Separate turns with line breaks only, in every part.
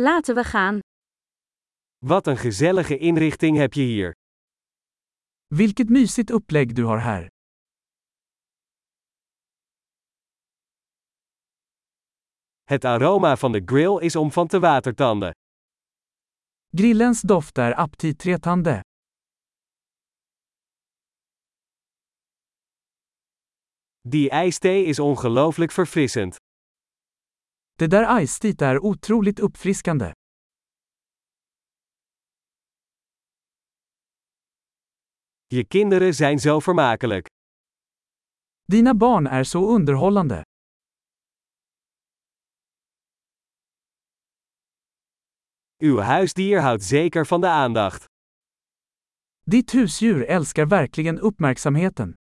Laten we gaan.
Wat een gezellige inrichting heb je hier.
Vilket mysigt upplägg du har här.
Het aroma van de grill is om van te watertanden.
Grillens doft är aptitretande.
Die ijsthee is ongelooflijk verfrissend.
Det där ice är otroligt uppfriskande.
Je kinderen zijn zo vermakelijk.
Dina barn är så underhållande.
Uw huisdier houdt zeker van de aandacht.
Ditt husdjur älskar verkligen uppmärksamheten.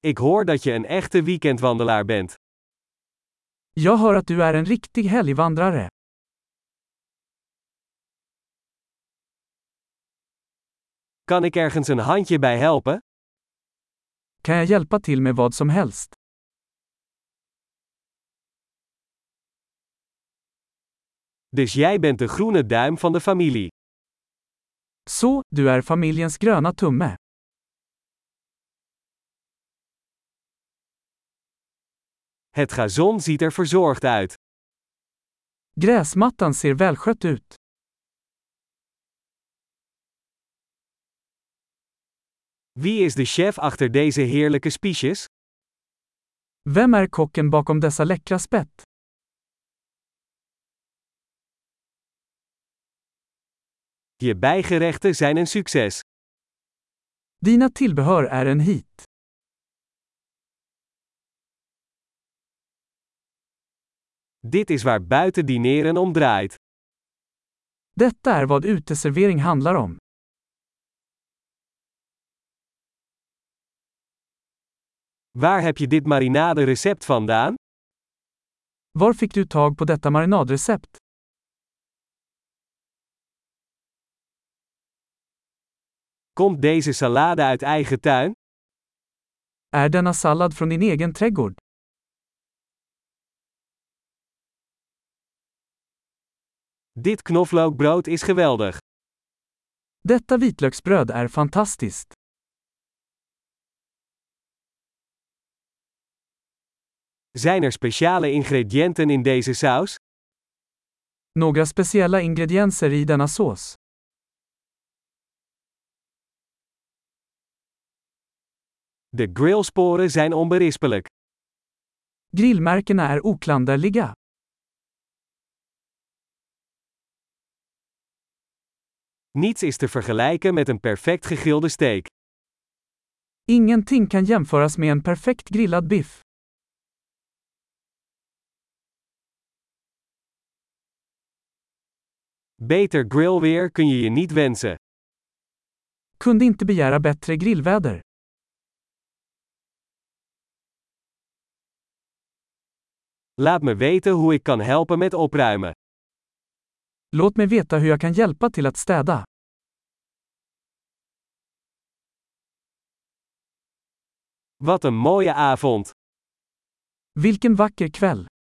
Ik hoor dat je een echte weekendwandelaar bent.
Jag hör att du är en riktig helgvandrare.
Kan ik ergens een handje bij helpen?
Kan jag hjälpa till med vad som helst?
Dus jij bent de groene duim van de familie.
Så, du är familjens gröna tumme.
Het gazon ziet er verzorgd uit.
Gräsmattan ser välskött ut.
Wie is de chef achter deze heerlijke spiesjes?
Vem är kocken bakom dessa läckra spett?
Je bijgerechten zijn een succes.
Dina tillbehör är en hit.
Dit is waar buiten dineren om draait.
Detta är vad uteservering handlar om.
Waar heb je dit marinade recept vandaan?
Var fick du tag på detta marinadrecept?
Komt deze salade uit eigen tuin?
Är denna sallad från din egen trädgård?
Dit knoflookbrood is geweldig.
Detta vitlöksbröd är fantastiskt.
Zijn er speciale ingrediënten in deze saus?
Några speciella ingredienser i denna sås.
De grillsporen zijn onberispelijk.
Grillmärkena är oklanderliga.
Niets is te vergelijken met een perfect gegrilde steak.
Ingenting kan jämföras med en perfekt grillad biff.
Beter grillweer kun je je niet wensen.
Kunde inte begära bättre grillväder.
Laat me weten hoe ik kan helpen met opruimen.
Låt mig veta hur jag kan hjälpa till att städa.
Wat een mooie avond!
Vilken vacker kväll!